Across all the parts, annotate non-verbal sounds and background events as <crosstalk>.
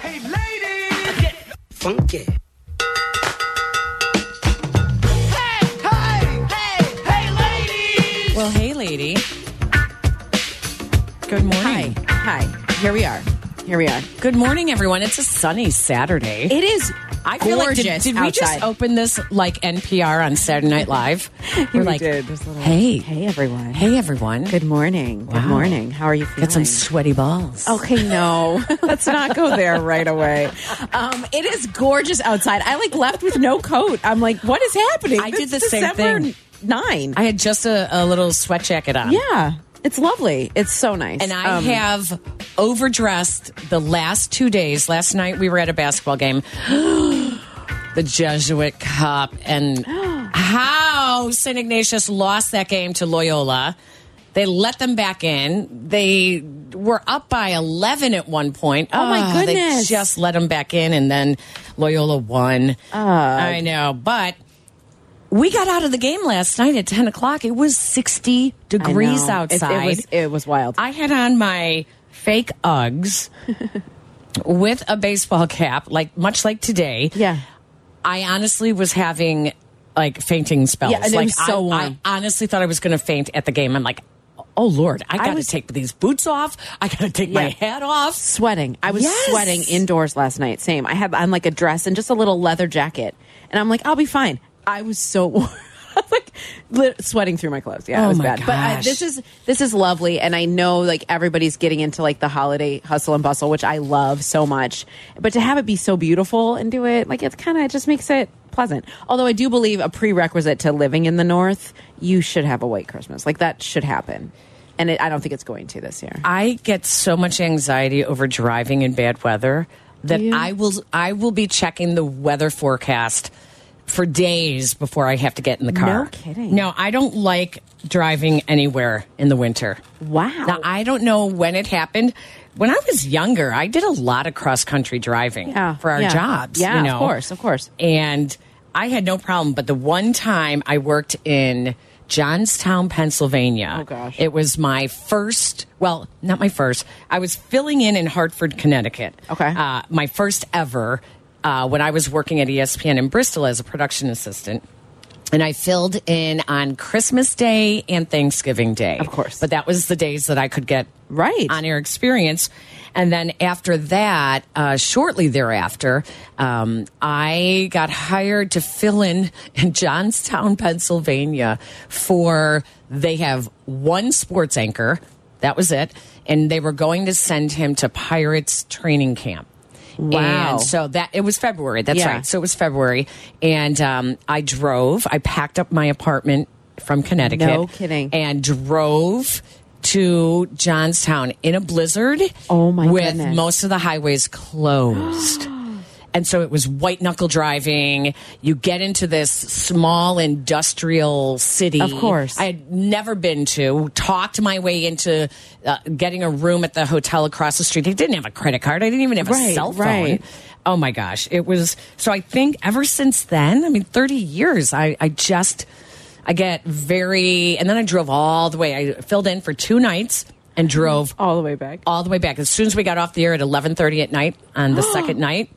Hey, ladies, get funky. Hey, hey, hey, hey, ladies. Well, hey, lady. Good morning. Hi. Hi. Here we are. Here we are. Good morning, everyone. It's a sunny Saturday. It is I feel like, did, gorgeous did we outside. just open this like NPR on Saturday Night <laughs> Live? We're like, hey, Hey, everyone. hey, everyone. Good morning. Good Wow. morning. How are you feeling? Got some sweaty balls. <laughs> Okay, no. Let's not go there right away. Um, it is gorgeous outside. I like left with no coat. I'm like, what is happening? I This did the is same December thing. Nine. I had just a, a little sweat jacket on. yeah, it's lovely. It's so nice. And I Um, have overdressed the last two days. Last night we were at a basketball game. <gasps> the Jesuit Cup and <gasps> how St. Ignatius lost that game to Loyola. They let them back in. They were up by 11 at one point. Oh, my goodness. They just let them back in, and then Loyola won. I know, but. We got out of the game last night at 10 o'clock. It was 60 I know. degrees It- outside. It, was, it was wild. I had on my fake <laughs> Uggs with a baseball cap, like much like today. yeah. I honestly was having like fainting spells. Yeah, and it like was so I, I warm. honestly thought I was going to faint at the game. I'm like, oh lord, I got to was- take these boots off. I got to take my Yeah. hat off. sweating. I was Yes. sweating indoors last night. Same. I had on like a dress and just a little leather jacket, and I'm like, I'll be fine. I was so <laughs> warm. I was, like lit- sweating through my clothes. Yeah, Oh it was my bad. But I, gosh. this is this is lovely, and I know like everybody's getting into like the holiday hustle and bustle, which I love so much. But to have it be so beautiful and do it like it's kind of it just makes it pleasant. Although I do believe a prerequisite to living in the north, you should have a white Christmas. Like that should happen. And it, I don't think it's going to this year. I get so much anxiety over driving in bad weather that you? I will I will be checking the weather forecast for days before I have to get in the car. kidding. No, I don't like driving anywhere in the winter. Wow. Now, I don't know when it happened. When I was younger, I did a lot of cross country driving Yeah, for our yeah. jobs. Yeah, you of know? course, of course. And I had no problem. But the one time I worked in Johnstown, Pennsylvania, Oh, gosh. it was my first. Well, not my first. I was filling in in Hartford, Connecticut. Okay. uh, my first ever uh, when I was working at ESPN in Bristol as a production assistant. And I filled in on Christmas Day and Thanksgiving Day. Of course. But that was the days that I could get Right. on air experience. And then after that, uh, shortly thereafter, um, I got hired to fill in <laughs> in Johnstown, Pennsylvania for they have one sports anchor. That was it. And they were going to send him to Pirates training camp. Wow. And so that it was February. That's Yeah. right. So it was February. And um, I drove, I packed up my apartment from Connecticut. No kidding. And drove to Johnstown in a blizzard. Oh, my With goodness. most of the highways <gasps> closed. And so it was white knuckle driving. You get into this small industrial city. Of course. I had never been to, talked my way into uh, getting a room at the hotel across the street. I didn't have a credit card. I didn't even have a Right, cell phone. right. Oh my gosh. It was so I think ever since then, I mean 30 years, I, I just I get very and then I drove all the way. I filled in for two nights and drove all the way back. all the way back. As soon as we got off the air at 11:30 at night on <gasps> the second night,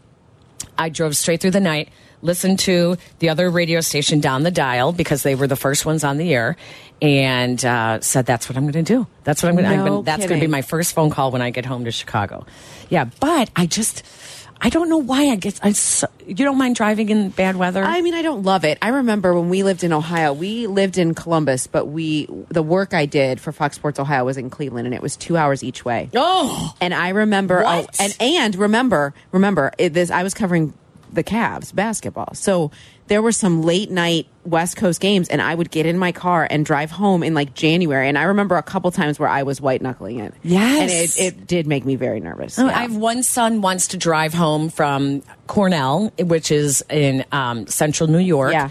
I drove straight through the night, listened to the other radio station down the dial because they were the first ones on the air, and uh, said, "That's what I'm going to do. That's what I'm going No to. That's going to kidding. be my first phone call when I get home to Chicago." Yeah, but I just. I don't know why I get. I so, you don't mind driving in bad weather. I mean, I don't love it. I remember when we lived in Ohio. We lived in Columbus, but we the work I did for Fox Sports Ohio was in Cleveland, and it was two hours each way. oh, And I remember, oh, What? and and remember, remember it, this. I was covering the Cavs basketball, so there were some late night West Coast games, and I would get in my car and drive home in like January. And I remember a couple times where I was white knuckling it. Yes. and it, it did make me very nervous. Oh, yeah. I have one son wants to drive home from Cornell, which is in um, central New York. Yeah.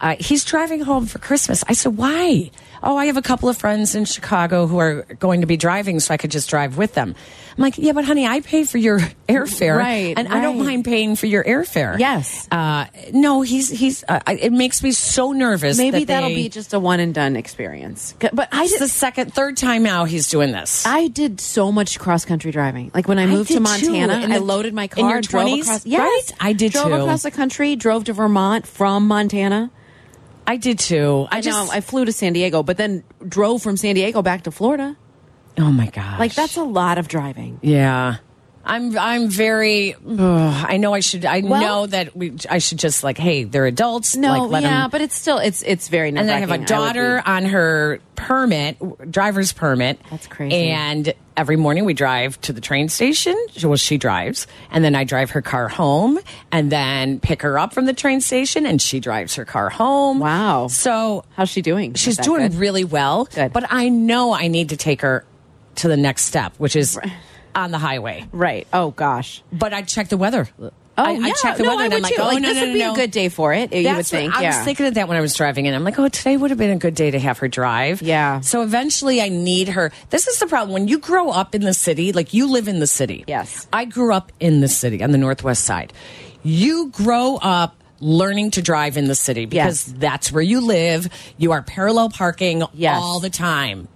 Uh, he's driving home for Christmas. I said, why? Oh, I have a couple of friends in Chicago who are going to be driving, so I could just drive with them. I'm like, yeah, but honey, I pay for your <laughs> airfare, Right, And I don't right. mind paying for your airfare. Yes. Uh, no, he's he's. Uh, I- it makes me so nervous. Maybe that that'll they- be just a one and done experience. C- But I It's the did, second, third time out he's doing this. I did so much cross country driving. Like when I I moved did to too. Montana, In I the- loaded my in car, your and drove 20s, across. right? I did drove too. across the country, drove to Vermont from Montana. I did too. I I just. just, I flew to San Diego, but then drove from San Diego back to Florida. oh my gosh. Like that's a lot of driving. Yeah. I'm I'm very ugh, I know I should I Well- know that we I should just like hey they're adults No, like let yeah, them but it's still it's it's very. and then I have a nerve-wracking. would be- daughter on her permit driver's permit That's crazy. and every morning we drive to the train station well she drives and then I drive her car home and then pick her up from the train station and she drives her car home Wow. so How's she doing? Is she's that doing good? really well Good. but I know I need to take her to the next step which is on the highway right. Oh gosh. but I check the weather. Oh, Oh I, yeah. I check the no, weather I and would I'm like, too. oh, Like, no, this no, would no, be no. a good day for it. you That's would what- think. I yeah. was thinking of that when I was driving in. I'm like, oh, today would have been a good day to have her drive. Yeah. So eventually I need her. This is the problem. When you grow up in the city, like you live in the city. Yes. I grew up in the city on the Northwest side. You grow up learning to drive in the city because Yes. that's where you live. You are parallel parking Yes. all the time.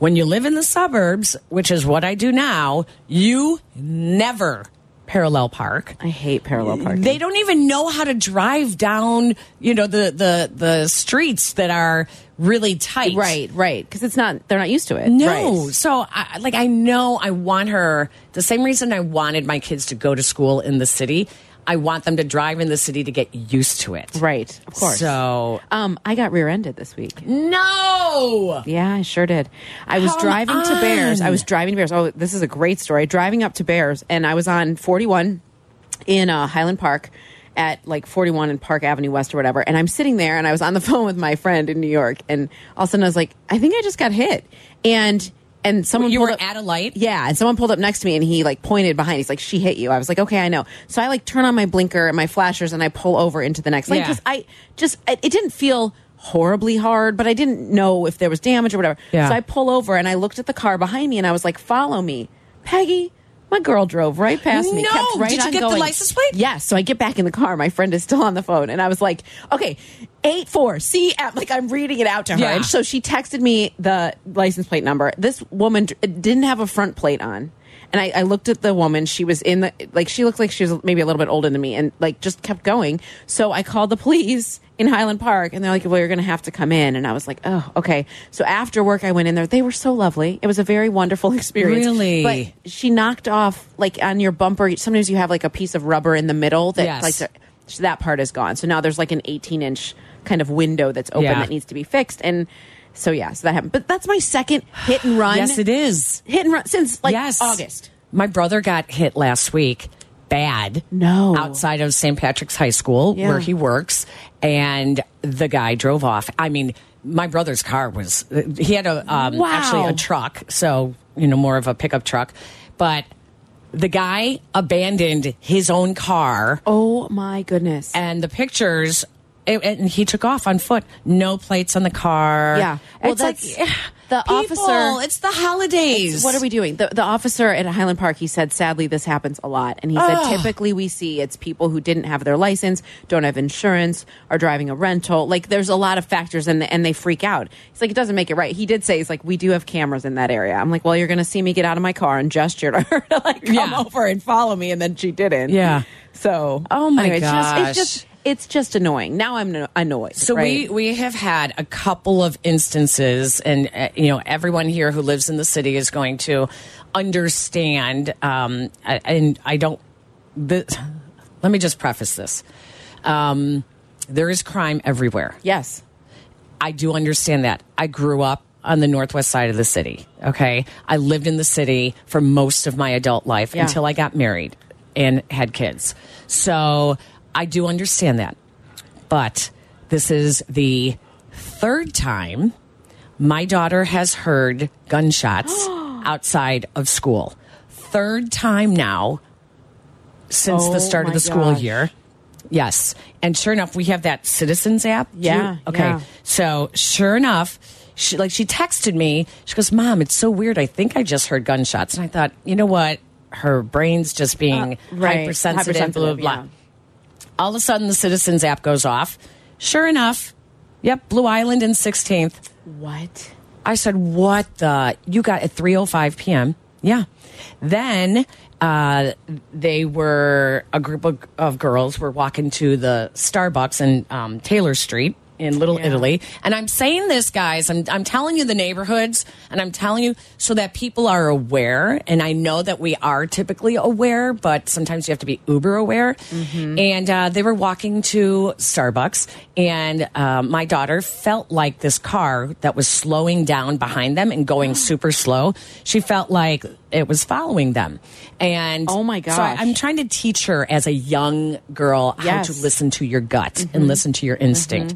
When you live in the suburbs, which is what I do now, you never parallel park. I hate parallel parking. They don't even know how to drive down, you know, the the the streets that are really tight. Right, right. Because it's not, they're not used to it. No. Right. So I like I know I want her the same reason I wanted my kids to go to school in the city. I want them to drive in the city to get used to it. Right, of course. So um, I got rear ended this week. no. Yeah, I sure did. I was Come driving to Bears. I on. was driving to Bears. Oh, this is a great story. Driving up to Bears, and I was on 41 in uh, Highland Park at like 41 and Park Avenue West or whatever. And I'm sitting there, and I was on the <laughs> phone with my friend in New York, and all of a sudden I was like, I think I just got hit, and. And someone You pulled were up, at a light? yeah. And someone pulled up next to me, and he like pointed behind. He's like, "She hit you." I was like, "Okay, I know." So I like turn on my blinker and my flashers, and I pull over into the next lane. Yeah. Just I just it, it didn't feel horribly hard, but I didn't know if there was damage or whatever. Yeah. So I pull over and I looked at the car behind me and I was like, "Follow me, Peggy." My girl drove right past me. No! kept right Did you on get the going. license plate? Yes. So I get back in the car. My friend is still on the phone, and I was like, "Okay, eight four CF." Like I'm reading it out to her, Yeah. and so she texted me the license plate number. This woman d- didn't have a front plate on. And I, I looked at the woman. She was in the, like, she looked like she was maybe a little bit older than me and, like, just kept going. So I called the police in Highland Park and they're like, well, you're going to have to come in. And I was like, oh, okay. So after work, I went in there. They were so lovely. It was a very wonderful <laughs> experience. Really? But she knocked off, like, on your bumper. Sometimes you have, like, a piece of rubber in the middle that, Yes. like, the- so that part is gone. So now there's like an 18 inch kind of window that's open Yeah. that needs to be fixed. And so yeah, so that happened. But that's my second hit and <sighs> run. Yes, it is. Hit and run since like yes. August. My brother got hit last week bad. No. Outside of St. Patrick's High School Yeah. where he works and the guy drove off. I mean, my brother's car was he had a um Wow. actually a truck, so you know more of a pickup truck, but the guy abandoned his own car Oh my goodness. and the pictures and- and he took off on foot. No plates on the car. Yeah. Well, it's like that's- the people, officer- It's the holidays. what are we doing? The, the officer at Highland Park, he said, sadly, this happens a lot. And he said, Ugh. typically we see it's people who didn't have their license, don't have insurance, are driving a rental. Like, there's a lot of factors and, and they freak out. He's like, it doesn't make it right. He did say, he's like, we do have cameras in that area. I'm like, well, you're going to see me get out of my car and gesture to <laughs> her to like come Yeah. over and follow me. And then she didn't. Yeah. So, Oh my anyway, gosh. It's just, it's just, it's just annoying. Now I'm no- annoyed. So we we have had a couple of instances, and uh, you know everyone here who lives in the city is going to understand. Um, I- and I don't. The, <laughs> let me just preface this: um, there is crime everywhere. Yes. I do understand that. I grew up on the northwest side of the city. Okay, I lived in the city for most of my adult life Yeah. until I got married and had kids. So I do understand that. But this is the third time my daughter has heard <gasps> gunshots outside of school. Third time now since Oh the start of my the school gosh. year. Yes. And sure enough, we have that Citizens app. Do you- Yeah, okay. yeah. So sure enough, she like she texted me. She goes, "Mom, it's so weird. I think I just heard gunshots." And I thought, you know what? Her brain's just being hypersensitive, Blah blah blah. Uh, yeah. All of a sudden, the Citizens app goes off. Sure enough, yep, Blue Island and 16th. What? I said, "What the? You got at 3:05 p.m. Yeah." Then uh, they were a group of, of girls were walking to the Starbucks in um, Taylor Street in Little Yeah. Italy, and I'm saying this, guys. I'm I'm telling you the neighborhoods, and I'm telling you so that people are aware. And I know that we are typically aware, but sometimes you have to be uber aware. Mm-hmm. And uh, they were walking to Starbucks, and uh, my daughter felt like this car that was slowing down behind them and <gasps> going super slow. She felt like it was following them, and Oh my So I, gosh. I'm trying to teach her as a young girl how Yes. to listen listen to your gut and listen to your instinct.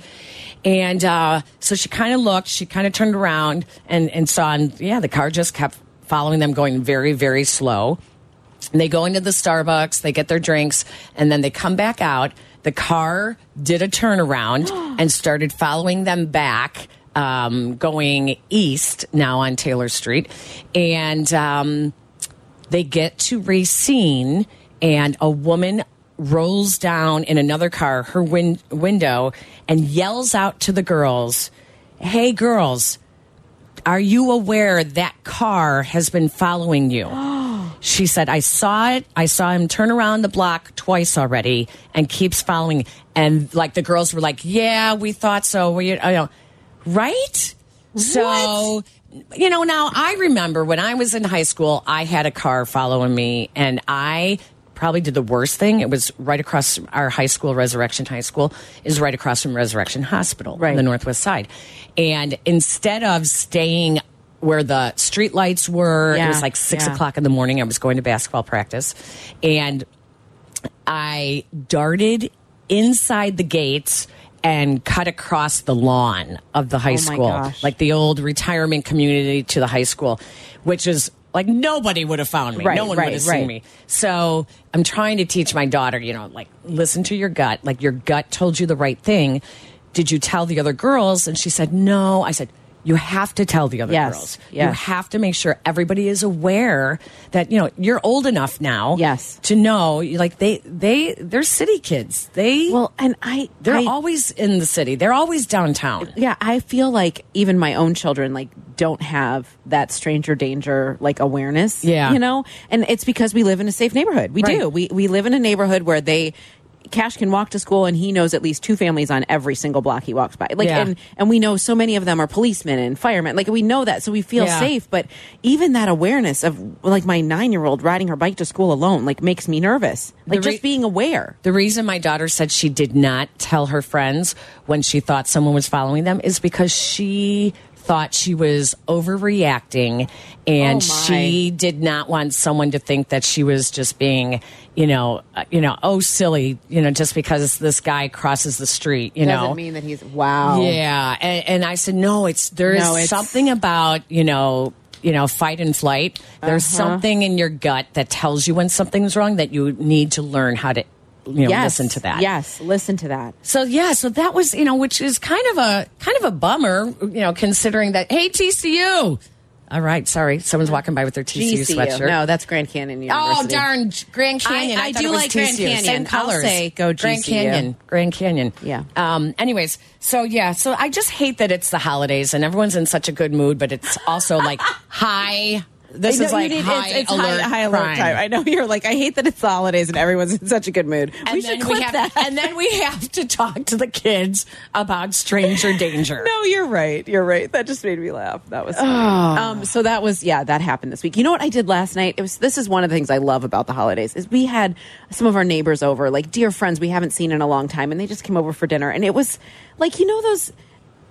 And uh, so she kind of looked, she kind of turned around and, and saw, and yeah, the car just kept following them, going very, very slow. And they go into the Starbucks, they get their drinks, and then they come back out. The car did a turnaround and started following them back, um, going east now on Taylor Street. And um, they get to Racine, and a woman rolls down in another car her win- window and yells out to the girls, Hey, girls, are you aware that car has been following you? she said, I saw it. I saw him turn around the block twice already and keeps following. And like the girls were like, Yeah, we thought so. We, you know, right? So, you know, now I remember when I was in high school, I had a car following me and I probably did the worst thing. It was right across our high school, Resurrection High School, is right across from Resurrection Hospital Right. on the Northwest Side. And instead of staying where the streetlights were, it Yeah, was like six yeah. o'clock in the morning. I was going to basketball practice and I darted inside the gates and cut across the lawn of the high Oh my school, gosh. like the old retirement community to the high school, which is like nobody would have found me. Right, no one would right, have right. seen me. So I'm trying to teach my daughter, you know, like listen to your gut. Like your gut told you the right thing. Did you tell the other girls? And she said, no. I said, you have to tell the other Yes, girls. You yes. have to make sure everybody is aware that, you know, you're old enough now Yes. to know like they they they're city kids they Well, and I they're I, always in the city they're always downtown yeah, I feel like even my own children like don't have that stranger danger like awareness. Yeah. you know, and it's because we live in a safe neighborhood. We Right. do. We we live in a neighborhood where they. Cash can walk to school, and he knows at least two families on every single block he walks by. Like, Yeah. and and we know so many of them are policemen and firemen. Like, we know that, so we feel Yeah. safe. But even that awareness of like my nine year old riding her bike to school alone, like, makes me nervous. Like, The re- just being aware. the reason my daughter said she did not tell her friends when she thought someone was following them is because she thought she was overreacting and Oh, my. she did not want someone to think that she was just being you know uh, you know oh silly you know just because this guy crosses the street you know that he's wow. Yeah, and, and I said, no, it's there is No, it's- something about you know, you know, fight and flight. There's Uh-huh. something in your gut that tells you when something's wrong that you need to learn how to, you know, listen to that. Yes, listen to that. So yeah, so that was you know, which is kind of a kind of a bummer, you know, considering that hey TCU, all right, sorry, someone's walking by with their TCU, GCU. sweatshirt. No, that's Grand Canyon University. Oh darn, Grand Canyon! I- I, I thought do it was like Grand TCU. Canyon. Same I'll colors. say go Grand GCU. Canyon. Grand Canyon. Yeah. Um. Anyways, so yeah, so I just hate that it's the holidays and everyone's in such a good mood, but it's also <laughs> like high. This I know is you like need- it's- high, it's alert high, high alert crime. time. I know you're like, I hate that it's the holidays and everyone's in such a good mood. we should clip have, that. and then we have to talk to the kids <laughs> about stranger danger. no, you're right. You're right. That just made me laugh. That was funny. Ah. Um, so that was yeah, that happened this week. You know what I did last night? It was this is one of the things I love about the holidays is we had some of our neighbors over, like dear friends we haven't seen in a long time, and they just came over for dinner, and it was like you know those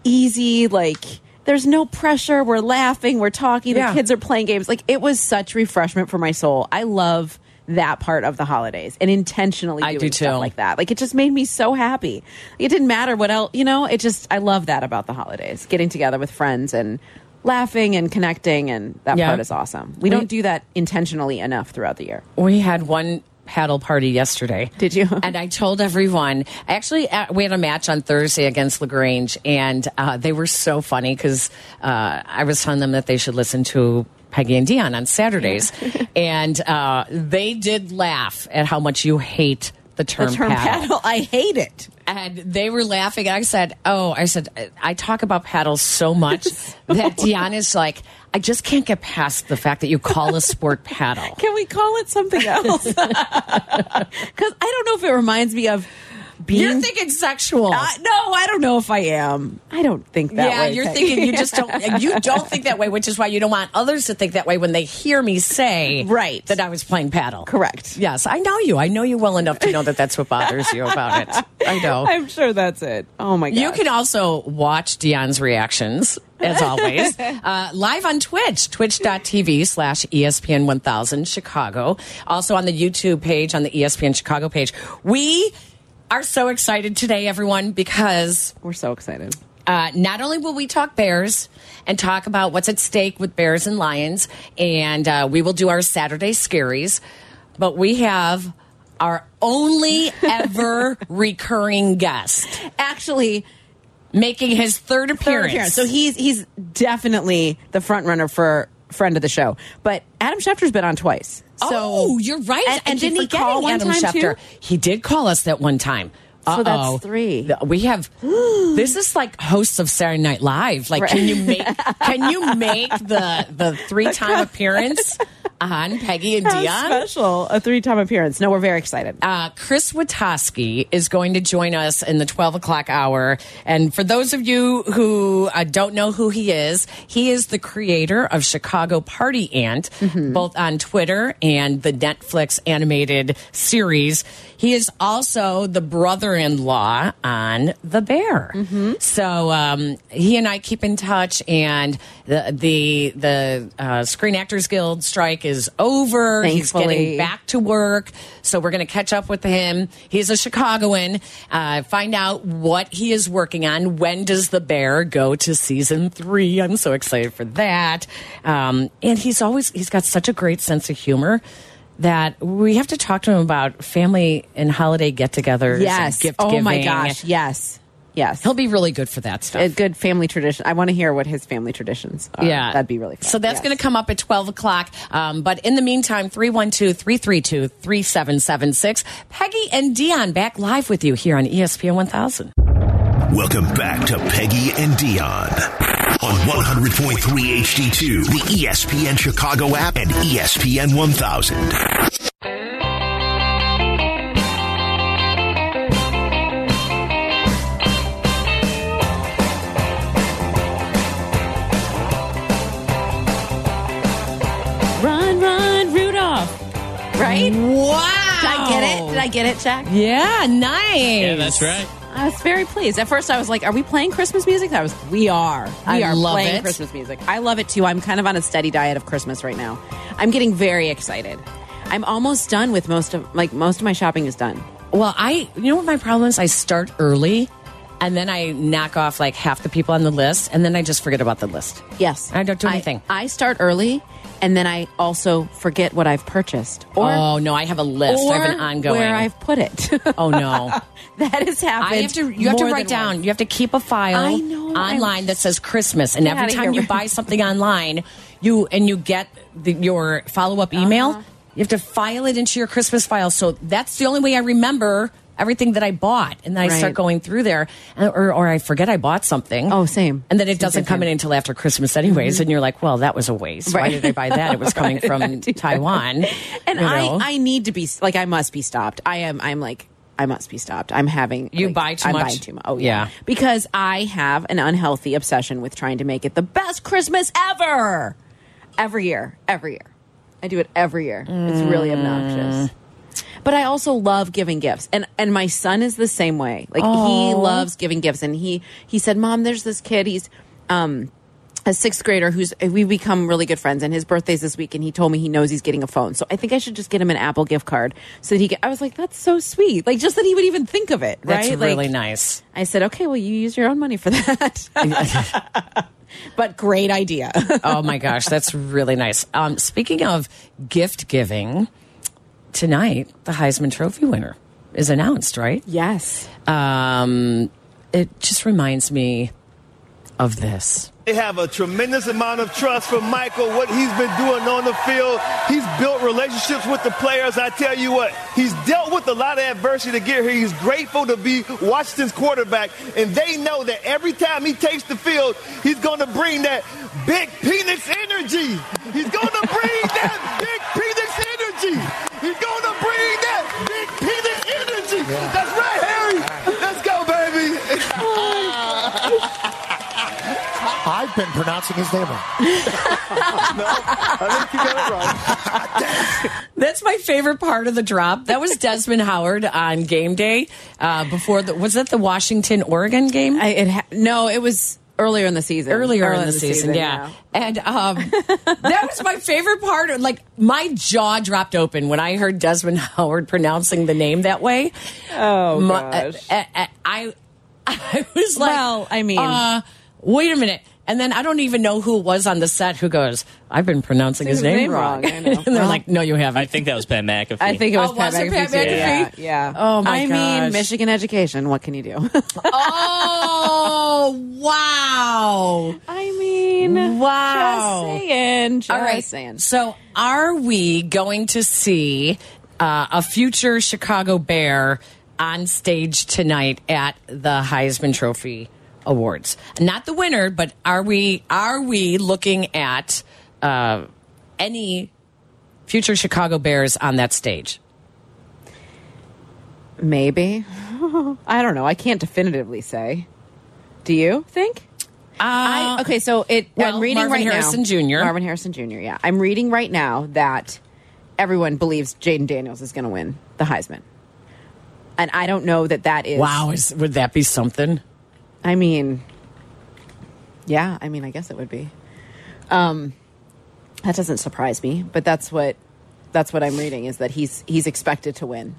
easy like. There's no pressure. We're laughing. We're talking. Yeah. The kids are playing games. Like it was such refreshment for my soul. I love that part of the holidays and intentionally I doing do too. stuff like that. Like it just made me so happy. It didn't matter what else, you know. It just I love that about the holidays, getting together with friends and laughing and connecting, and that Yeah. part is awesome. We- We, don't do that intentionally enough throughout the year. we had one paddle party yesterday. Did you? And I told everyone. Actually, uh, we had a match on Thursday against Lagrange, and uh, they were so funny because uh, I was telling them that they should listen to. Peggy and Dion on Saturdays, and uh, they did laugh at how much you hate the term, The term paddle. I hate it. and they were laughing. And I said, "Oh, I said I- I talk about paddles so much <laughs> that Dion is like, I just can't get past the fact that you call a sport paddle." Can we call it <laughs> something else? <laughs> Because I don't know if it reminds me of being. You're thinking sexual. Uh, no, I don't know if I am. I don't think that. yeah, way, <laughs> you're Peggy. <laughs> thinking you just <laughs> don't you don't think that way, which is why you don't want others to think that way when they hear me say Right. that I was playing paddle. Correct. Yes, I know you. I know you well enough to know that that's what bothers you about <laughs> it. I know. I'm sure that's it. Oh my god! You can also watch Dion's reactions, <laughs> as always, uh, live on Twitch, twitch.tv slash E ESPN 1000 Chicago. Also on the YouTube page, on the E ESPN Chicago page. We are so excited today, everyone, because We're so excited. uh, not only will we talk bears and talk about what's at stake with bears and lions, and uh, we will do our Saturday scaries, but we have our only <laughs> ever recurring guest Actually, making his third appearance. third appearance. So he's he's definitely the front runner for friend of the show. But Adam Schefter's been on twice. So oh, you're right. And, I and keep didn't he forgetting call one Adam time Schefter. too? He did call us that one time. So that's Uh-oh. three. Th- We <gasps> have this is like hosts of Saturday Night Live. Like, can you make can you make the <laughs> the three time appearance on Peggy and How Dion? special a three time appearance. No, we're very excited. uh, Chris Witowski is going to join us in the 12 o'clock hour. And for those of you who uh, don't know who he is, he is the creator of Chicago Party Ant, both on Twitter and the Netflix animated series. He is also the brother in law on The Bear. So um, he and I keep in touch, and the, the, the uh, Screen Actors Guild strike is over. He's getting Thankfully. back to work. So we're going to catch up with him. He's a Chicagoan. Uh, find out what he is working on. When does the bear go to season three? I'm so excited for that. Um, and he's always he's got such a great sense of humor that we have to talk to him about family and holiday get-togethers. yes. and gift oh my giving. gosh. Yes. Yes. he'll be really good for that stuff. a good family tradition. I want to hear what his family traditions are. Yeah. Um, That'd be really fun. So that's Yes. going to come up at 12 o'clock. Um, but in the meantime, 312 332 3776. Peggy and Dion back live with you here on E ESPN 1000. Welcome back to Peggy and Dion on 100.3 HD2, the E ESPN Chicago app, and E ESPN 1000. Run, run, Rudolph. Right? Did Wow. I get it? Did I get it, Jack? Yeah, nice. Yeah, that's right. I was very pleased. At first, I was like, "Are we playing Christmas music?" I was, "We are. We I are love playing it. Christmas music. I love it too. I'm kind of on a steady diet of Christmas right now. I'm getting very excited. I'm almost done with most of like most of my shopping is done. Well, I, you know what my problem is? I start early and then I knock off like half the people on the list and then I just forget about the list. Yes, I don't do anything. I, start early, and then I also forget what I've purchased or oh, no, I have a list. I have an or ongoing. where I've put it. <laughs> oh, no. <laughs> that has happened. I have to. You have to more write than down. once. You have to keep a file I know, I online wish- that says Christmas, and Get every outta time here. you buy something online, you and you get the, your follow Uh-huh. up email. You have to file it into your Christmas file. So that's the only way I remember everything that I bought, and then I start Right. going through there, and, or or I forget I bought something. Oh, same. And then it Same, doesn't same, come in same. Mm-hmm. until after Christmas, anyways. And you're like, well, that was a waste. Why Right. did I buy that? <laughs> It was coming from Taiwan. you And know? I, I need to be like I must be stopped. I am. I'm like I must be stopped. I'm having You like, buy too I'm much? Buying too much. Oh yeah. Yeah. because I have an unhealthy obsession with trying to make it the best Christmas ever. Every year, every year, I do it every year. It's really obnoxious. But I also love giving gifts, and and my son is the same way. Like he loves giving gifts, and he he said, "Mom, there's this kid. He's." um a sixth grader who's we've become really good friends and his birthday's this week and he told me he knows he's getting a phone so i think i should just get him an apple gift card so that he get, i was like that's so sweet like just that he would even think of it that's right really like, nice. i said okay well you use your own money for that <laughs> but great idea oh my gosh, that's really nice. Um, speaking of gift giving, tonight the Heisman Trophy winner is announced, right? Yes. Um, it just reminds me of this. They have a tremendous amount of trust from Michael, what he's been doing on the field. He's built relationships with the players. I tell you what, he's dealt with a lot of adversity to get here. He's grateful to be Washington's quarterback, and they know that every time he takes the field, he's going to bring that big penis energy. He's going to <laughs> bring that big penis energy. He's going to bring that big penis energy. That's right, Harry. Let's go, baby. I've been pronouncing his name wrong. I think you got it right. That's my favorite part of the drop. That was Desmond Howard on game day uh, before the was that the Washington Oregon game? I, it ha- no, it was earlier in the season. earlier Early in the, season, yeah. And um, that was my favorite part. Like my jaw dropped open when I heard Desmond Howard pronouncing the name that way. Oh, My- gosh. uh, uh, I, <laughs> I was like, Well, I mean- uh, wait a minute. And then I don't even know who it was on the set who goes, I've been pronouncing his, name, wrong. <laughs> I know. and they're like, no, you haven't. I <laughs> think that was Pat McAfee. I think it was Oh, Pat was it Pat McAfee. McAfee? Yeah. yeah. Oh, my I gosh. mean, Michigan education. What can you do? oh, wow. I mean, Wow. Just saying. Just All right. saying. So, are we going to see uh, a future Chicago Bear on stage tonight at the Heisman Trophy Awards? Not the winner, but are we are we looking at uh, any future Chicago Bears on that stage? Maybe. <laughs> I don't know. I can't definitively say. Do you think? I, okay, so it. Uh, well, I'm reading Marvin right Harrison now. Jr.. Marvin Harrison Jr. Yeah, I'm reading right now that everyone believes Jaden Daniels is going to win the Heisman, and I don't know that that is. Wow, is, would that be something? I mean, yeah. I mean, I guess it would be. Um, that doesn't surprise me, but that's what that's what I'm reading is that he's he's expected to win.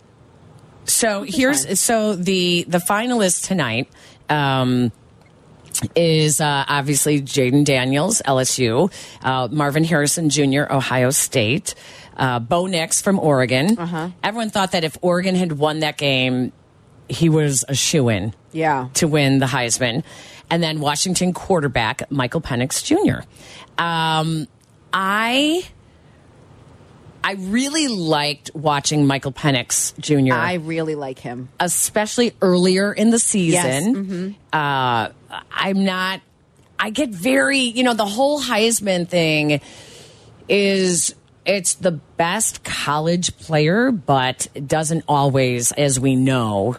So here's so the the finalists tonight um, is uh, obviously Jaden Daniels, LSU, uh, Marvin Harrison Jr., Ohio State, uh, Bo Nix from Oregon. Everyone thought that if Oregon had won that game, he was a shoe in Yeah. to win the Heisman, and then Washington quarterback Michael Penix Jr. Um, I. I really liked watching Michael Penix Jr I really like him. especially earlier in the season. Yes, Mm-hmm. uh, I'm not. I get very, you know, the whole Heisman thing is it's the best college player, but it doesn't always, as we know,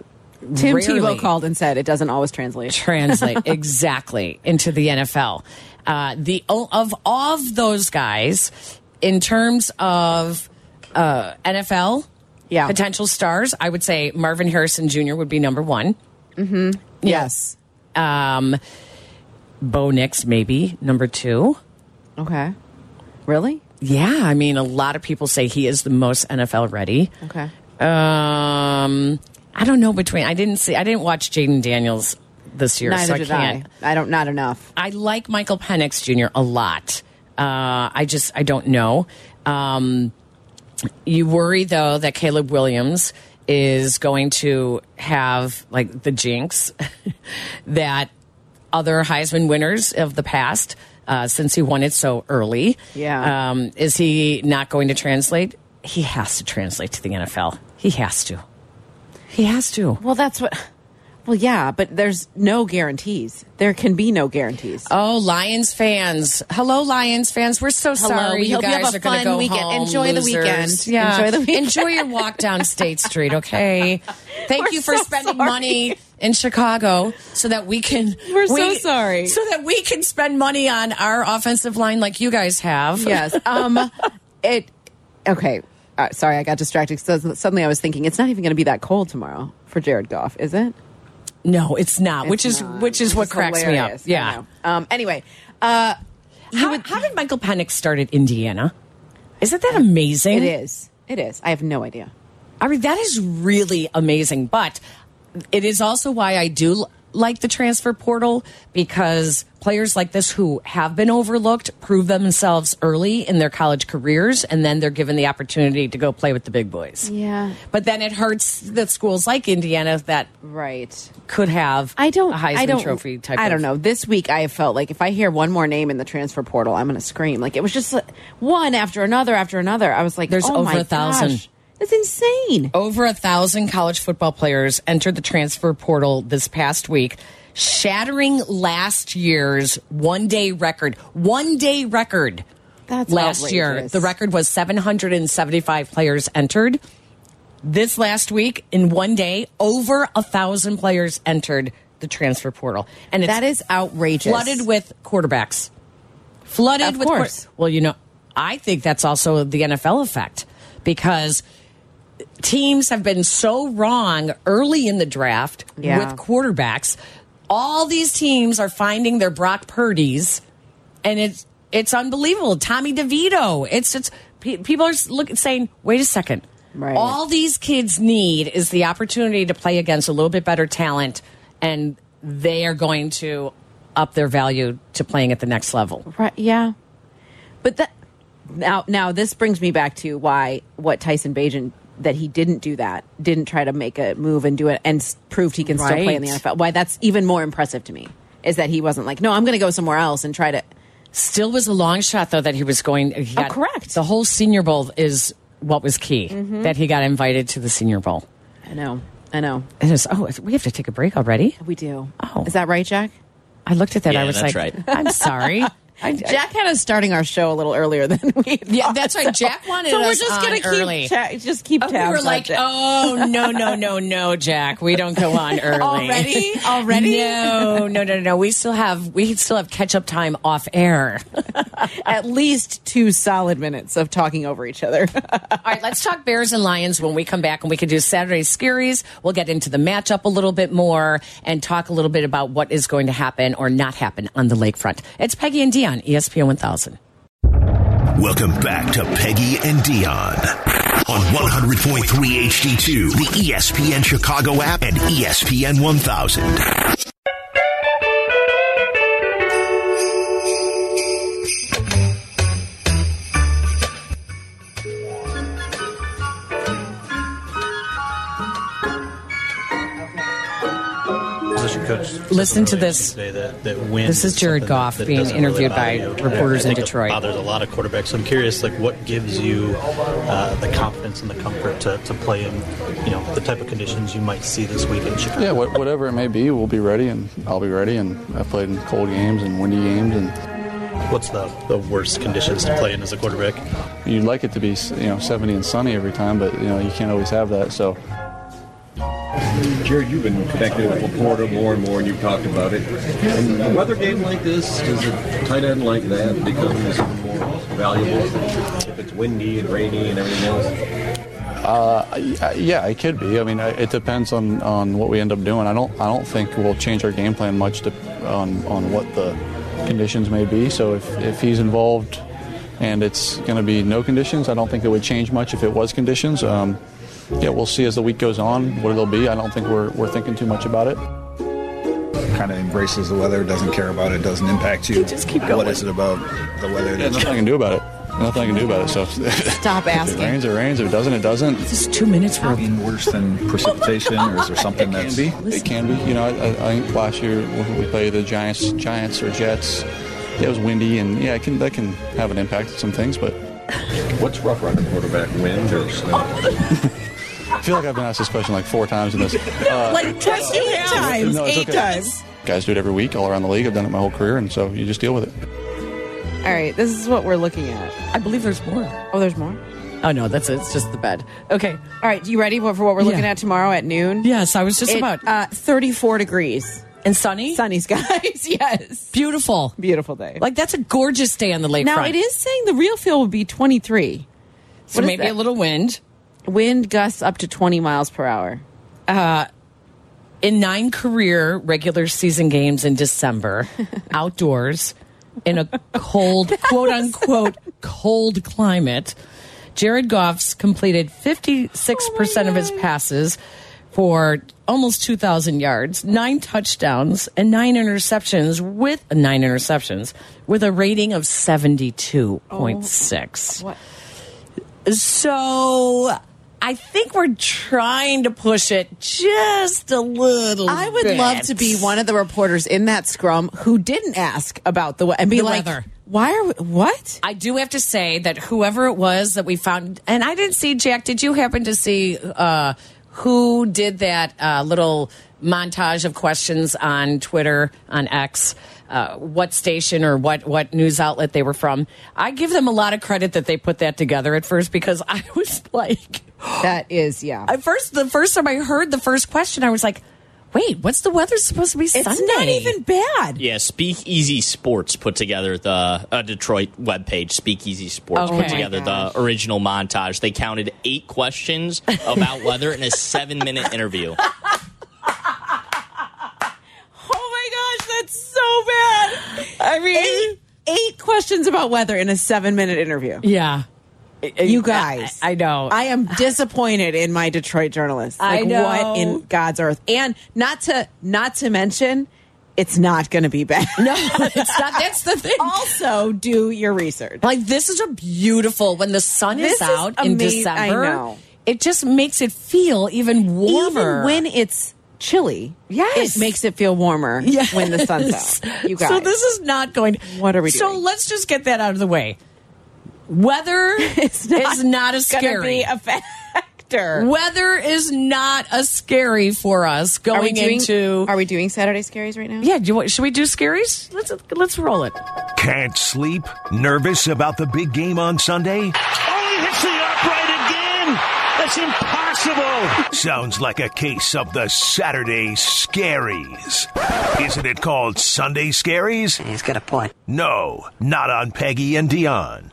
Tim rarely Tebow called and said it doesn't always translate. translate <laughs> exactly into the NFL. Uh, the of of those guys, in terms of uh, NFL, Yeah. potential stars, I would say Marvin Harrison Jr. would be number one. Yes. Um, Bo Nix maybe number two. Okay. Really? Yeah, I mean, a lot of people say he is the most NFL ready. Okay. Um, I don't know between. I didn't see. I didn't watch Jaden Daniels this year, Neither so I did can't. I. I don't. Not enough. I like Michael Penix Jr. a lot. Uh, I just I don't know. Um, you worry though that Caleb Williams is going to have like the jinx <laughs> that other Heisman winners of the past, uh, since he won it so early. Yeah. um, is he not going to translate? He has to translate to the NFL. He has to. He has to. Well, that's what. Well, yeah, but there's no guarantees. There can be no guarantees. Oh, Lions fans! Hello, Lions fans. We're so Hello. sorry We you hope you guys have a are going to fun go weekend. home. Enjoy the losers. weekend. Yeah, Enjoy the weekend. Enjoy your walk <laughs> down State Street. Okay. Thank We're you for so spending sorry. money in Chicago so that we can. We're so we- sorry. So that we can spend money on our offensive line like you guys have. yes. Um. It. Okay. Uh, sorry, I got distracted. So suddenly, I was thinking it's not even going to be that cold tomorrow for Jared Goff, is it? No, it's not. which It's is not. which is what Which cracks hilarious. me I up. Yeah. know. Um. Anyway. Uh. How, how did Michael Penix start at Indiana? Isn't that amazing? It is. It is. I have no idea. I mean, that is really amazing. But it is also why I do like the transfer portal because players like this who have been overlooked prove themselves early in their college careers and then they're given the opportunity to go play with the big boys. Yeah. But then it hurts that schools like Indiana that Right. could have I don't. a Heisman I don't, trophy type I don't of- know. This week, I felt like if I hear one more name in the transfer portal, I'm going to scream. Like it was just like, one after another after another. I was like, There's oh over my a thousand. gosh. It's insane. Over a thousand college football players entered the transfer portal this past week, shattering last year's one day record. One day record. That's last year. outrageous. The record was 775 players entered. This last week, in one day, over a thousand players entered the transfer portal, and it's That is outrageous. flooded with quarterbacks. Flooded Of with quar- course. well, you know, I think that's also the NFL effect because teams have been so wrong early in the draft Yeah. with quarterbacks. All these teams are finding their Brock Purdy's, and it's it's unbelievable. Tommy DeVito. It's it's pe- people are looking saying, wait a second. Right. All these kids need is the opportunity to play against a little bit better talent, and they are going to up their value to playing at the next level. Right. Yeah. But that now now this brings me back to why what Tyson Bajan that he didn't do that, didn't try to make a move and do it and s- proved he can still play in the Right. NFL. Why that's even more impressive to me is that he wasn't like, no, I'm going to go somewhere else and try to. Still was a long shot though that he was going. He Oh, correct. Mm-hmm. The whole Senior Bowl is what was key that he got invited to the Senior Bowl. I know. I know. And it's, oh, we have to take a break already. We do. Oh. Is that right, Jack? I looked at that. Yeah, I was that's like, right. I'm <laughs> sorry. I, Jack had us starting our show a little earlier <laughs> than we. Yeah, thought, that's right. Jack wanted so we're us just on gonna keep early. ta- just keep Oh, tabs. we were on like, Jack. oh no, no, no, no, Jack, we don't go <laughs> on early <laughs> Already? Already? No, no, no, no. We still have we still have catch up time off air. at least two solid minutes of talking over each other. <laughs> All right, let's talk Bears and Lions when we come back, and we can do Saturday scaries. We'll get into the matchup a little bit more and talk a little bit about what is going to happen or not happen on the lakefront. It's Peggy and Dion, E ESPN 1000. Welcome back to Peggy and Dion on 100.3 HD2, the E ESPN Chicago app and E ESPN 1000. position coach. said Listen to something earlier this. today that- that wins This is Jared something Goff that being doesn't interviewed bother by you. reporters I think in that Detroit. Bothers a lot of quarterbacks. So I'm curious, like, what gives you uh, the confidence and the comfort to, to play in, you know, the type of conditions you might see this week in Chicago? Yeah, wh- whatever it may be, we'll be ready, and I'll be ready. And I've played in cold games and windy games, and What's the, the worst conditions to play in as a quarterback? you'd like it to be, s- you know, 70 and sunny every time, but you know, you can't always have that. So Jared, you've been connected with Florida more and more, and you've talked about it. And a weather game like this, does a tight end like that become even more valuable if it's windy and rainy and everything else? I- I- yeah, it could be. I mean, I, it depends on, on what we end up doing. I don't I don't think we'll change our game plan much to, on on what the conditions may be. So if if he's involved, and it's going to be no conditions, I don't think it would change much if it was conditions. Um, yeah, we'll see as the week goes on what it'll be. I don't think we're we're thinking too much about it. kind of embraces the weather, doesn't care about it, doesn't impact you. Just keep going. What is it about the weather Yeah, that's nothing I can do about it. Nothing I can do about it. So <laughs> Stop If asking. it rains, it rains. If it doesn't, it doesn't. This is two minutes worth. being worse than precipitation, or is there something that's It can be. You know, I, I I think last year when we played the Giants, Giants or Jets, yeah, it was windy, and yeah, it can that can have an impact on some things. But What's rougher on a quarterback, wind or snow? I feel like I've been asked this question like four times in this. Uh, like twice, eight times, No, it's okay. Guys do it every week, all around the league. I've done it my whole career, and so you just deal with it. All right, this is what we're looking at. I believe there's more. Oh, there's more. Oh no, that's it's just the bed. Okay. All right, you ready for for what we're looking Yeah. at tomorrow at noon? Yes, I was just It- about uh, 34 degrees, and sunny, sunny skies. <laughs> yes, beautiful. beautiful day. Like that's a gorgeous day on the lakefront. now it is saying the real feel would be 23. So what is maybe that? a little wind Wind gusts up to 20 miles per hour. in nine career regular season games in December, <laughs> outdoors in a cold, quote unquote, cold Oh, climate. Jared Goff's completed 56% of his passes for almost 2,000 yards, nine touchdowns, and nine interceptions with nine interceptions with a rating of 72.6. What? So I think we're trying to push it just a little. I would love bit. to be one of the reporters in that scrum who didn't ask about the we- and be The like, weather. "Why are we, what?" I do have to say that whoever it was that we found, and I didn't see Jack. Did you happen to see uh, who did that uh, little montage of questions on Twitter on X? Uh, what station or what what news outlet they were from? I give them a lot of credit that they put that together at first because I was <laughs> like, That is yeah. at first the first time I heard the first question, I was like, wait, what's the weather supposed to be it's Sunday? not even bad. Yeah, Speakeasy Sports put together the uh, Detroit webpage. Speakeasy Sports Oh my put together gosh. the original montage. They counted eight questions about weather in a seven-minute interview. Oh my gosh, that's so bad. I mean, eight, eight questions about weather in a seven-minute interview. Yeah. You guys, I, I know. I am disappointed in my Detroit journalists. I Like, know. what in God's earth? And not to not to mention, it's not going to be bad. No, <laughs> it's not. That's the thing. <laughs> Oh. also, do your research. Like this is a beautiful when the sun This is is out in amaz- December. I know. It just makes it feel even warmer. Even when it's chilly, Yes. it makes it feel warmer <laughs> Yes. when the sun's <laughs> out. You guys, So this is not going. What are we So doing? let's just get that out of the way. <laughs> Weather is not, a gonna scary. be a factor. Weather is not a scary for us are we going doing? into. Are we doing Saturday scaries right now? yeah, do you, want- should we do scaries? Let's let's roll it. Can't sleep? Nervous about the big game on Sunday? Oh, he hits the upright again. That's impossible. Sounds like a case of the Saturday scaries. Isn't it called Sunday scaries? He's got a point. No, not on Peggy and Dion.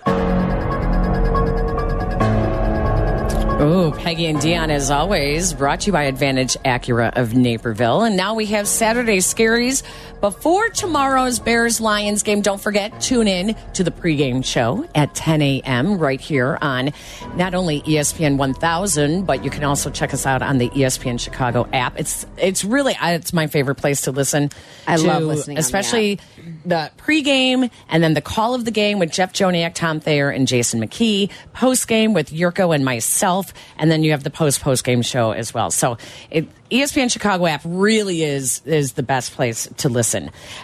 Oh, Peggy and Dion, as always, brought to you by Advantage Acura of Naperville. And now we have Saturday Scaries. Before tomorrow's Bears Lions game, don't forget, tune in to the pregame show at 10 a.m. right here on not only E ESPN 1000, but you can also check us out on the E ESPN Chicago app. It's it's really I- it's my favorite place to listen. I to, love listening on the especially app. the pregame and then the call of the game with Jeff Joniak, Tom Thayer, and Jason McKee. Postgame with Yurko and myself, and then you have the post postgame show as well. So, it, E ESPN Chicago app really is is the best place to listen.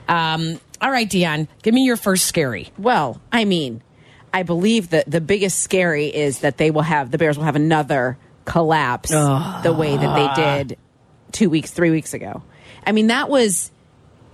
Um, all right, Dion, give me your first scary. Well, I mean, I believe that the biggest scary is that they will have the Bears will have another collapse the way that they did two weeks, three weeks ago. I mean, that was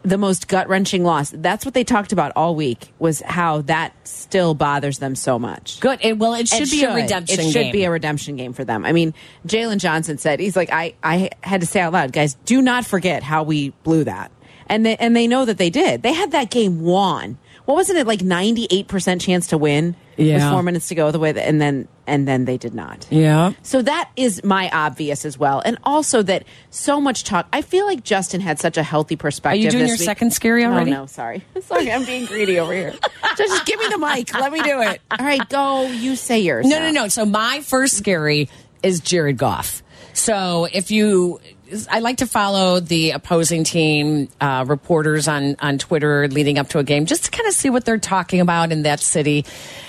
the most gut wrenching loss. That's what they talked about all week was how that still bothers them so much. Good. It, well, it should It be a redemption. It should game. be a redemption game for them. I mean, Jalen Johnson said he's like I I had to say out loud, guys, do not forget how we blew that, and they, and they know that they did. They had that game won. What wasn't it like ninety eight percent chance to win with Yeah. four minutes to go the way that, and then and then they did not. yeah. So that is my obvious as well, and also that so much talk. I feel like Justin had such a healthy perspective. doing this your week. second scary already? Oh no, sorry, <laughs> sorry, I'm being greedy over here. Just just give me the mic. Let me <laughs> do it. All right, go. You say yours. No, now. no, no. So my first scary is Jared Goff. So if you, I like to follow the opposing team uh, reporters on on Twitter leading up to a game, just to kind of see what they're talking about in that city.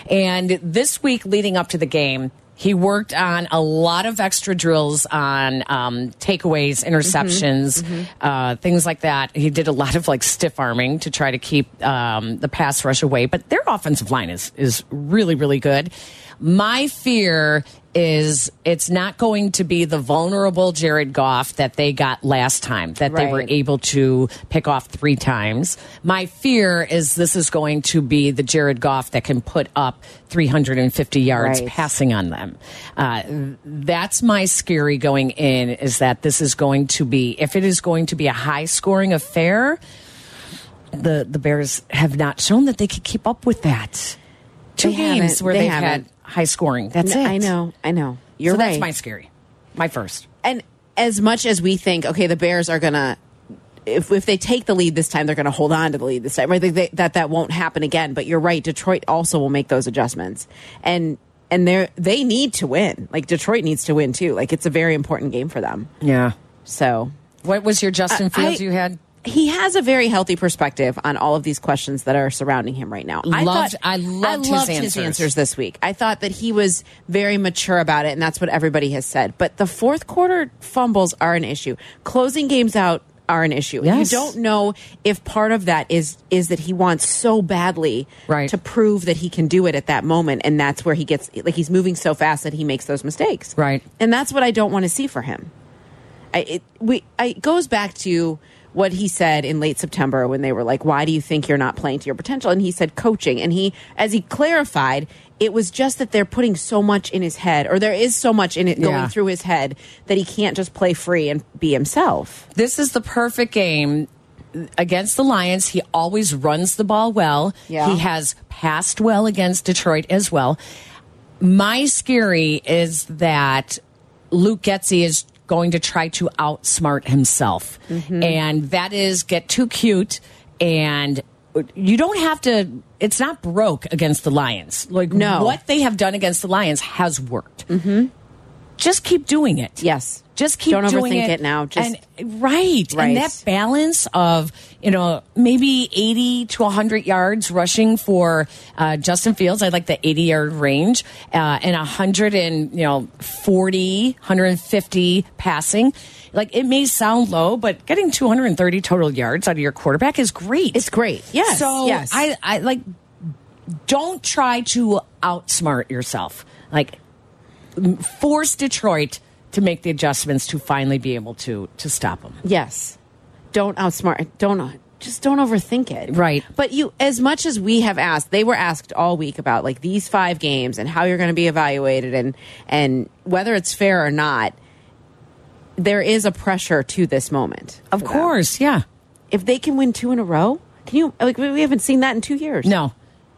And this week, leading up to the game. He worked on a lot of extra drills on um, takeaways, interceptions, Uh, things like that. He did a lot of like stiff arming to try to keep um, the pass rush away. But their offensive line is is really really good. My fear is it's not going to be the vulnerable Jared Goff that they got last time, that they were Right. able to pick off three times. My fear is this is going to be the Jared Goff that can put up 350 yards Right. passing on them. Uh, that's my scary going in is that this is going to be, if it is going to be a high scoring affair, the, the Bears have not shown that they could keep up with that. Two They games haven't. where They they haven't. had high scoring. That's No, it. I know. I know. You're so right. that's my scary. My first. and as much as we think, okay, the Bears are gonna. If, if they take the lead this time, they're going to hold on to the lead this time. Right? They, they, that that won't happen again. But you're right. Detroit also will make those adjustments, and and they're they need to win. Like Detroit needs to win too. Like it's a very important game for them. Yeah. So, what was your Justin Uh, Fields you had? He has a very healthy perspective on all of these questions that are surrounding him right now. I Loved- thought- I loved his answers. this week. I thought that he was very mature about it, and that's what everybody has said. But the fourth quarter fumbles are an issue. Closing games out are an issue. Yes. You don't know if part of that is is that he wants so badly to prove that he can do it at that moment, and that's where he gets like he's moving so fast that he makes those mistakes. Right. And that's what I don't want to see for him. I, it, we, I, it goes back to what he said in late September when they were like, "Why do you think you're not playing to your potential?" And he said, "Coaching." And he, as he clarified, it was just that they're putting so much in his head, or there is so much in it going Yeah. through his head that he can't just play free and be himself. This is the perfect game against the Lions. He always runs the ball well. Yeah. He has passed well against Detroit as well. My scary is that Luke Getzey is going to try to outsmart himself. Mm-hmm. Mhm. And that is get too cute and you don't have to it's not broke against the Lions. Like No. Mm-hmm. what they have done against the Lions has worked. Just keep doing it. Yes. Just keep Don't doing overthink it, it now. Just- and, right. Right. And that balance of, you know, maybe 80 to 100 yards rushing for uh, Justin Fields. I like the 80 yard range uh, and 100 and, you know, 40, 150 passing. Like it may sound low, but getting 230 total yards out of your quarterback is great. It's great. Yes, So yes. I, I like, don't try to outsmart yourself. Like, m- force Detroit to make the adjustments to finally be able to to stop them. Yes. Don't outsmart. Don't just don't overthink it. Right. But you as much as we have asked, they were asked all week about like these 5 games and how you're going to be evaluated and and whether it's fair or not. There is a pressure to this moment. Of course, yeah. If they can win two in a row, can you like we we haven't seen that in 2 years. No.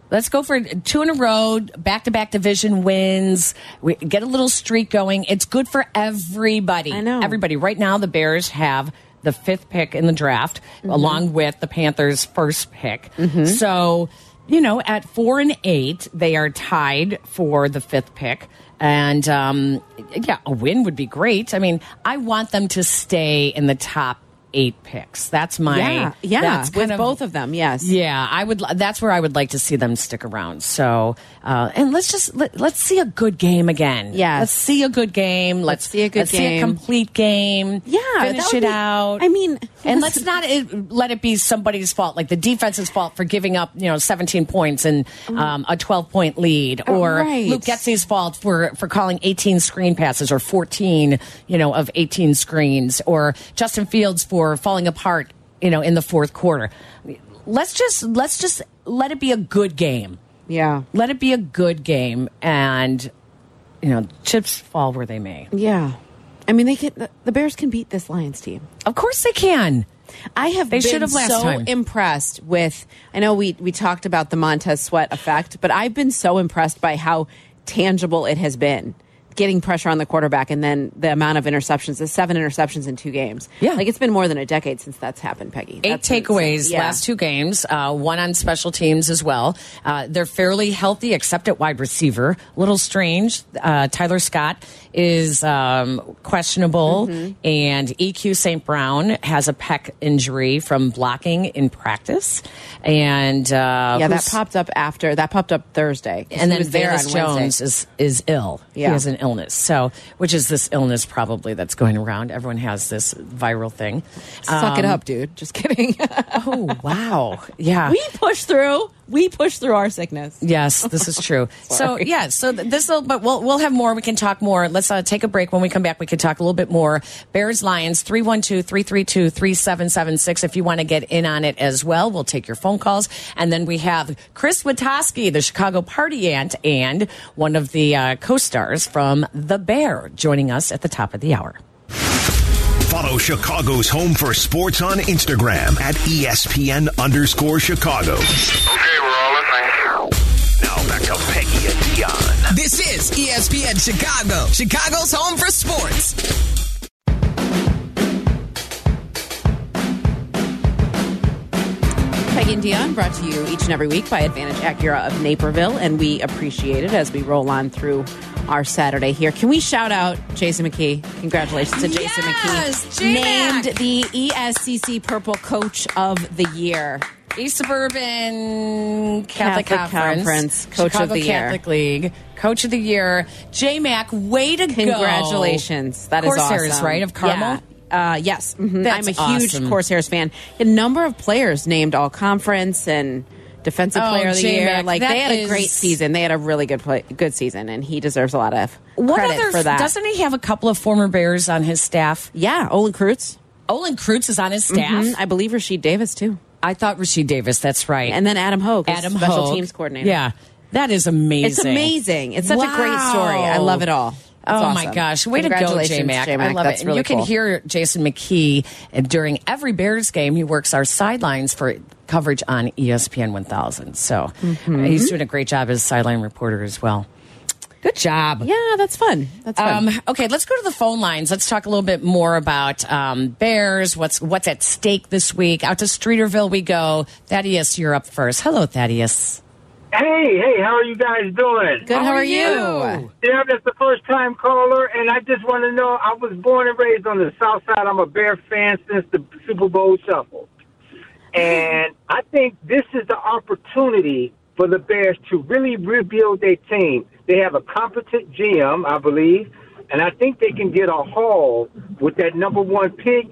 Let's go for two in a row, back to back division wins. We get a little streak going. It's good for everybody. I know. Everybody. Right now, the Bears have the fifth pick in the draft, along with the Panthers' first pick. So, you know, at four and eight, they are tied for the fifth pick. And um, yeah, a win would be great. I mean, I want them to stay in the top eight picks. That's my yeah, yeah, That's with kind of both of them. Yes. yeah, I would. li- That's where I would like to see them stick around. So, uh, and let's just let, let's see a good game again. Yes. let's see a good game. Let's, see a good let's See a game. complete game. Yeah, that finish would it be- out. I mean, and let's listen- not it, let it be somebody's fault, like the defense's fault for giving up, you know, 17 points and um, a 12 point lead, Mm. Oh, or right. Luke Getzey's fault for for calling 18 screen passes or 14, you know, of 18 screens, or Justin Fields for falling apart, you know, in the fourth quarter. Let's just let's just let it be a good game. Yeah, let it be a good game, and you know, chips fall where they may. Yeah. I mean, they can. the- The Bears can beat this Lions team. Of course they can. I have They been should have last so time. impressed with. I know we we talked about the Montez Sweat effect, but I've been so impressed by how tangible it has been. Getting pressure on the quarterback, and then the amount of interceptions, the seven interceptions in two games. Yeah, like it's been more than a decade since that's happened, Peggy. Eight That's insane. takeaways Yeah. last two games, uh, one on special teams as well. Uh, they're fairly healthy, except at wide receiver. Little strange. Uh, Tyler Scott is um, questionable, Mm-hmm. and EQ St. Brown has a pec injury from blocking in practice. And uh, yeah, that who's- popped up after that popped up Thursday, 'cause he and then was Velas there on Wednesday. Jones is is ill. Yeah. He has an illness. So, which is this illness probably that's going around. Everyone has this viral thing. Suck it Um, up, dude. Just kidding. <laughs> oh wow. Yeah. we push through. We push through our sickness. Yes, this is true. so Sorry. yeah, so this will, but we'll we'll have more. We can talk more. Let's uh, take a break. When we come back, we can talk a little bit more. Bears Lions 312-332-3776 If you want to get in on it as well, we'll take your phone calls. And then we have Chris Witoski, the Chicago party ant, and one of the uh, co-stars from The Bear, joining us at the top of the hour. Follow Chicago's home for sports on Instagram at E ESPN underscore Chicago. Okay, we're all Now back to Peggy and Dion. This is E ESPN Chicago, Chicago's home for sports. Peggy and Dion, brought to you each and every week by Advantage Acura of Naperville, and we appreciate it as we roll on through our Saturday here. Can we shout out Jason McKee? Congratulations to Jason Yes, McKee, J-Mac. named the E ESCC Purple Coach of the Year. East Suburban Catholic, Catholic Conference, Coach of Chicago the Year. Catholic League Coach of the Year. J Mac, way to go! Congratulations. That is Corsairs, awesome. right? Of Carmel. Yeah. Uh, yes. Mhm. Mm-hmm. That's I'm a huge awesome. Corsairs fan. A number of players named all conference and defensive Oh, player of the year. J-Mac, Like that they had is- a great season. They had a really good play, good season and he deserves a lot of What credit other? for that. Doesn't he have a couple of former Bears on his staff? Yeah, Olin Kreutz. Olin Kreutz is on his staff. Mhm. I believe Rasheed Davis too. I thought Rasheed Davis. That's right. And then Adam Hogue, is Adam special Hogue. teams coordinator. Yeah, that is amazing. It's amazing. It's such a great story. I love it all. It's oh my awesome. gosh! Way to go, Congratulations, J Mac. J-Mac. I love That's it. And really you can cool. hear Jason McKee uh, during every Bears game. He works our sidelines for coverage on E ESPN 1000. So Mm-hmm. uh, he's doing a great job as sideline reporter as well. Good job. Yeah, that's fun. That's fun. Um, okay, let's go to the phone lines. Let's talk a little bit more about um, Bears. What's what's at stake this week? Out to Streeterville we go. Thaddeus, you're up first. Hello, Thaddeus. Hey, hey, how are you guys doing? Good, how are you? Yeah, that's the first time caller, and I just want to know I was born and raised on the South Side. I'm a Bear fan since the Super Bowl shuffle. And I think this is the opportunity for the Bears to really rebuild their team. They have a competent GM, I believe, and I think they can get a haul with that number one pick,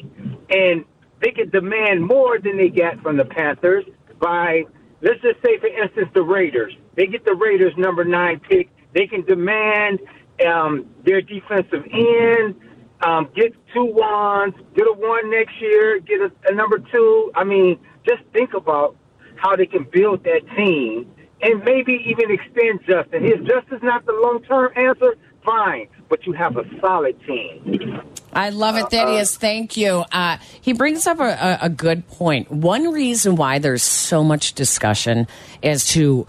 and they could demand more than they got from the Panthers by, let's just say, for instance, the Raiders. They get the Raiders' number nine pick. They can demand um, their defensive end um, get two wands, get a one next year, get a, a number two. I mean, just think about how they can build that team and maybe even extend Justin. If Justin's not the long term answer, fine, but you have a solid team. I love it, Thaddeus. Thank you. Uh, he brings up a, a, a good point. One reason why there's so much discussion as to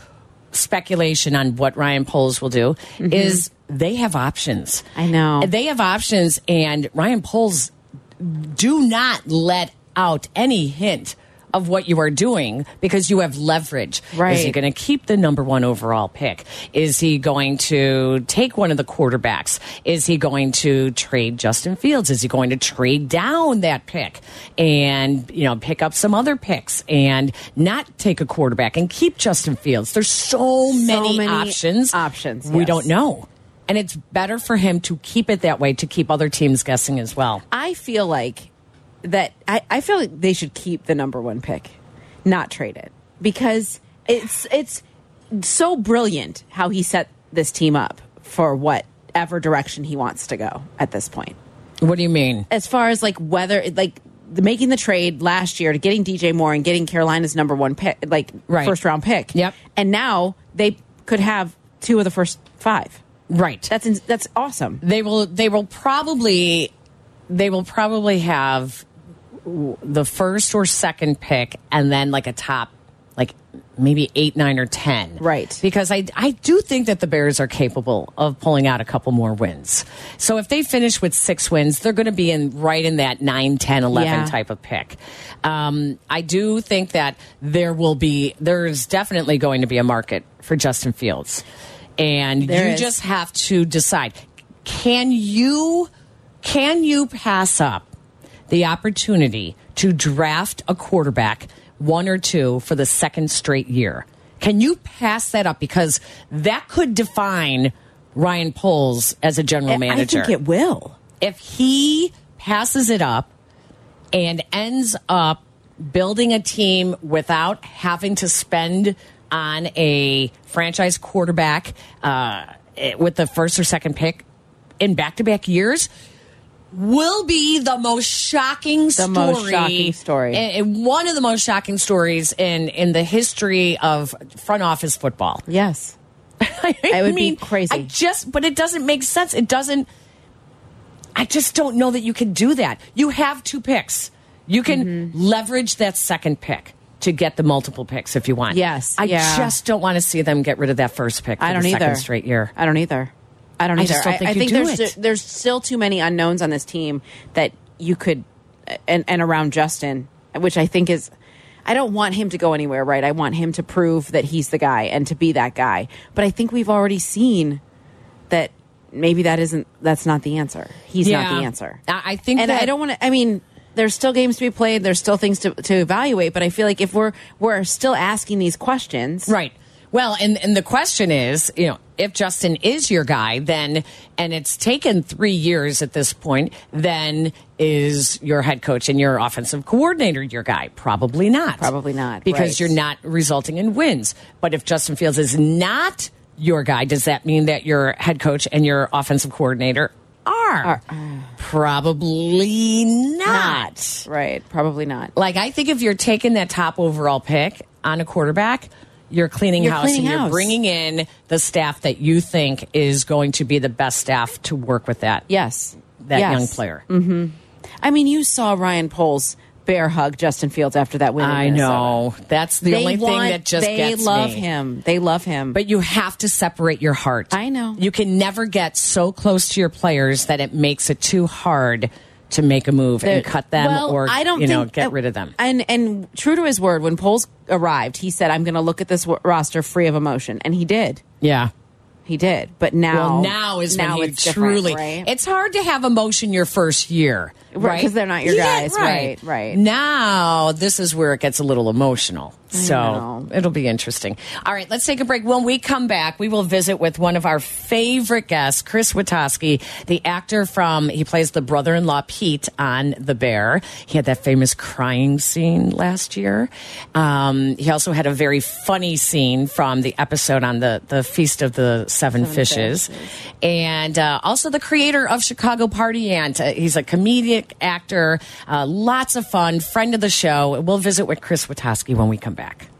speculation on what Ryan Poles will do is they have options. Mm-hmm. I know. They have options, and Ryan Poles do not let out any hint of what you are doing because you have leverage. Is he Right. going to keep the number one overall pick? Is he going to take one of the quarterbacks? Is he going to trade Justin Fields? Is he going to trade down that pick and, you know, pick up some other picks and not take a quarterback and keep Justin Fields? There's so many, many options. options, We yes. don't know. And it's better for him to keep it that way to keep other teams guessing as well. I feel like that I, I feel like they should keep the number one pick, not trade it. Because it's it's so brilliant how he set this team up for whatever direction he wants to go at this point. What do you mean? As far as like whether like the, making the trade last year to getting DJ Moore and getting Carolina's number one pick like Right. first round pick. Yep. And now they could have two of the first five. Right. That's in, that's awesome. they will they will probably they will probably have w- the first or second pick and then like a top like maybe eight nine or ten Right. because i i do think that the bears are capable of pulling out a couple more wins so if they finish with six wins they're going to be in right in that 9 10 11 Yeah. type of pick um, i do think that there will be there's definitely going to be a market for justin fields and There you is. just have to decide can you can you pass up the opportunity to draft a quarterback one or two for the second straight year can you pass that up because that could define Ryan Poles as a general I manager think it will. if he passes it up and ends up building a team without having to spend on a franchise quarterback uh, eh, with the first or second pick in back to back years. Will be the most shocking The story. most shocking story. and- and one of the most shocking stories in in the history of front office football. Yes. I It would be mean, crazy. I just, but it doesn't make sense. It doesn't. I just don't know that you can do that. You have two picks. You can Mm-hmm. leverage that second pick to get the multiple picks if you want. Yes, I yeah. just don't want to see them get rid of that first pick. For I don't the either. Second straight year. I don't either. I don't I either. just don't think you do there's it. there's still too many unknowns on this team that you could and and around Justin, which I think is. I I don't want him to go anywhere, right? I want him to prove that he's the guy and to be that guy. But I think we've already seen that maybe that isn't that's not the answer. He's not the Yeah. answer. I I think and that I don't want to. I mean, there's still games to be played. There's still things to, to evaluate. But I feel like if we're we're still asking these questions, Right. Well, and and the question is, you know, if Justin is your guy, then and it's taken 3 years at this point, then is your head coach and your offensive coordinator your guy? Probably not. Probably not. Because right. you're not resulting in wins. But if Justin Fields is not your guy, does that mean that your head coach and your offensive coordinator are? Probably not. Right. Probably not. Like I think if you're taking that top overall pick on a quarterback, you're cleaning You're house cleaning and house. you're bringing in the staff that you think is going to be the best staff to work with that. Yes. That Yes. young player. hmm I mean, you saw Ryan Poles bear hug Justin Fields after that win. in I Minnesota. know. That's the They only want- thing that just they gets love me. him. They love him. But you have to separate your heart. I know. You can never get so close to your players that it makes it too hard to make a move They're- and cut them well, or I don't you know think- uh, get rid of them. And and true to his word, when Poles arrived, he said, "I'm going to look at this w roster free of emotion," and he did. Yeah. He did. But now, well, now is when now you it's different, truly. right? It's hard to have emotion your first year, Right, right? 'cause they're not your Yeah, guys, right, right. Now this is where it gets a little emotional. know. So it'll be interesting. All right, let's take a break. When we come back, we will visit with one of our favorite guests, Chris Witowski, the actor from he plays the brother-in-law Pete on The Bear. He had that famous crying scene last year. Um, he also had a very funny scene from the episode on the the Feast of the Seven, Seven Fishes, and uh, also the creator of Chicago Party Ant. Uh, he's a comedic actor, uh, lots of fun, friend of the show. We'll visit with Chris Witowski when we come back.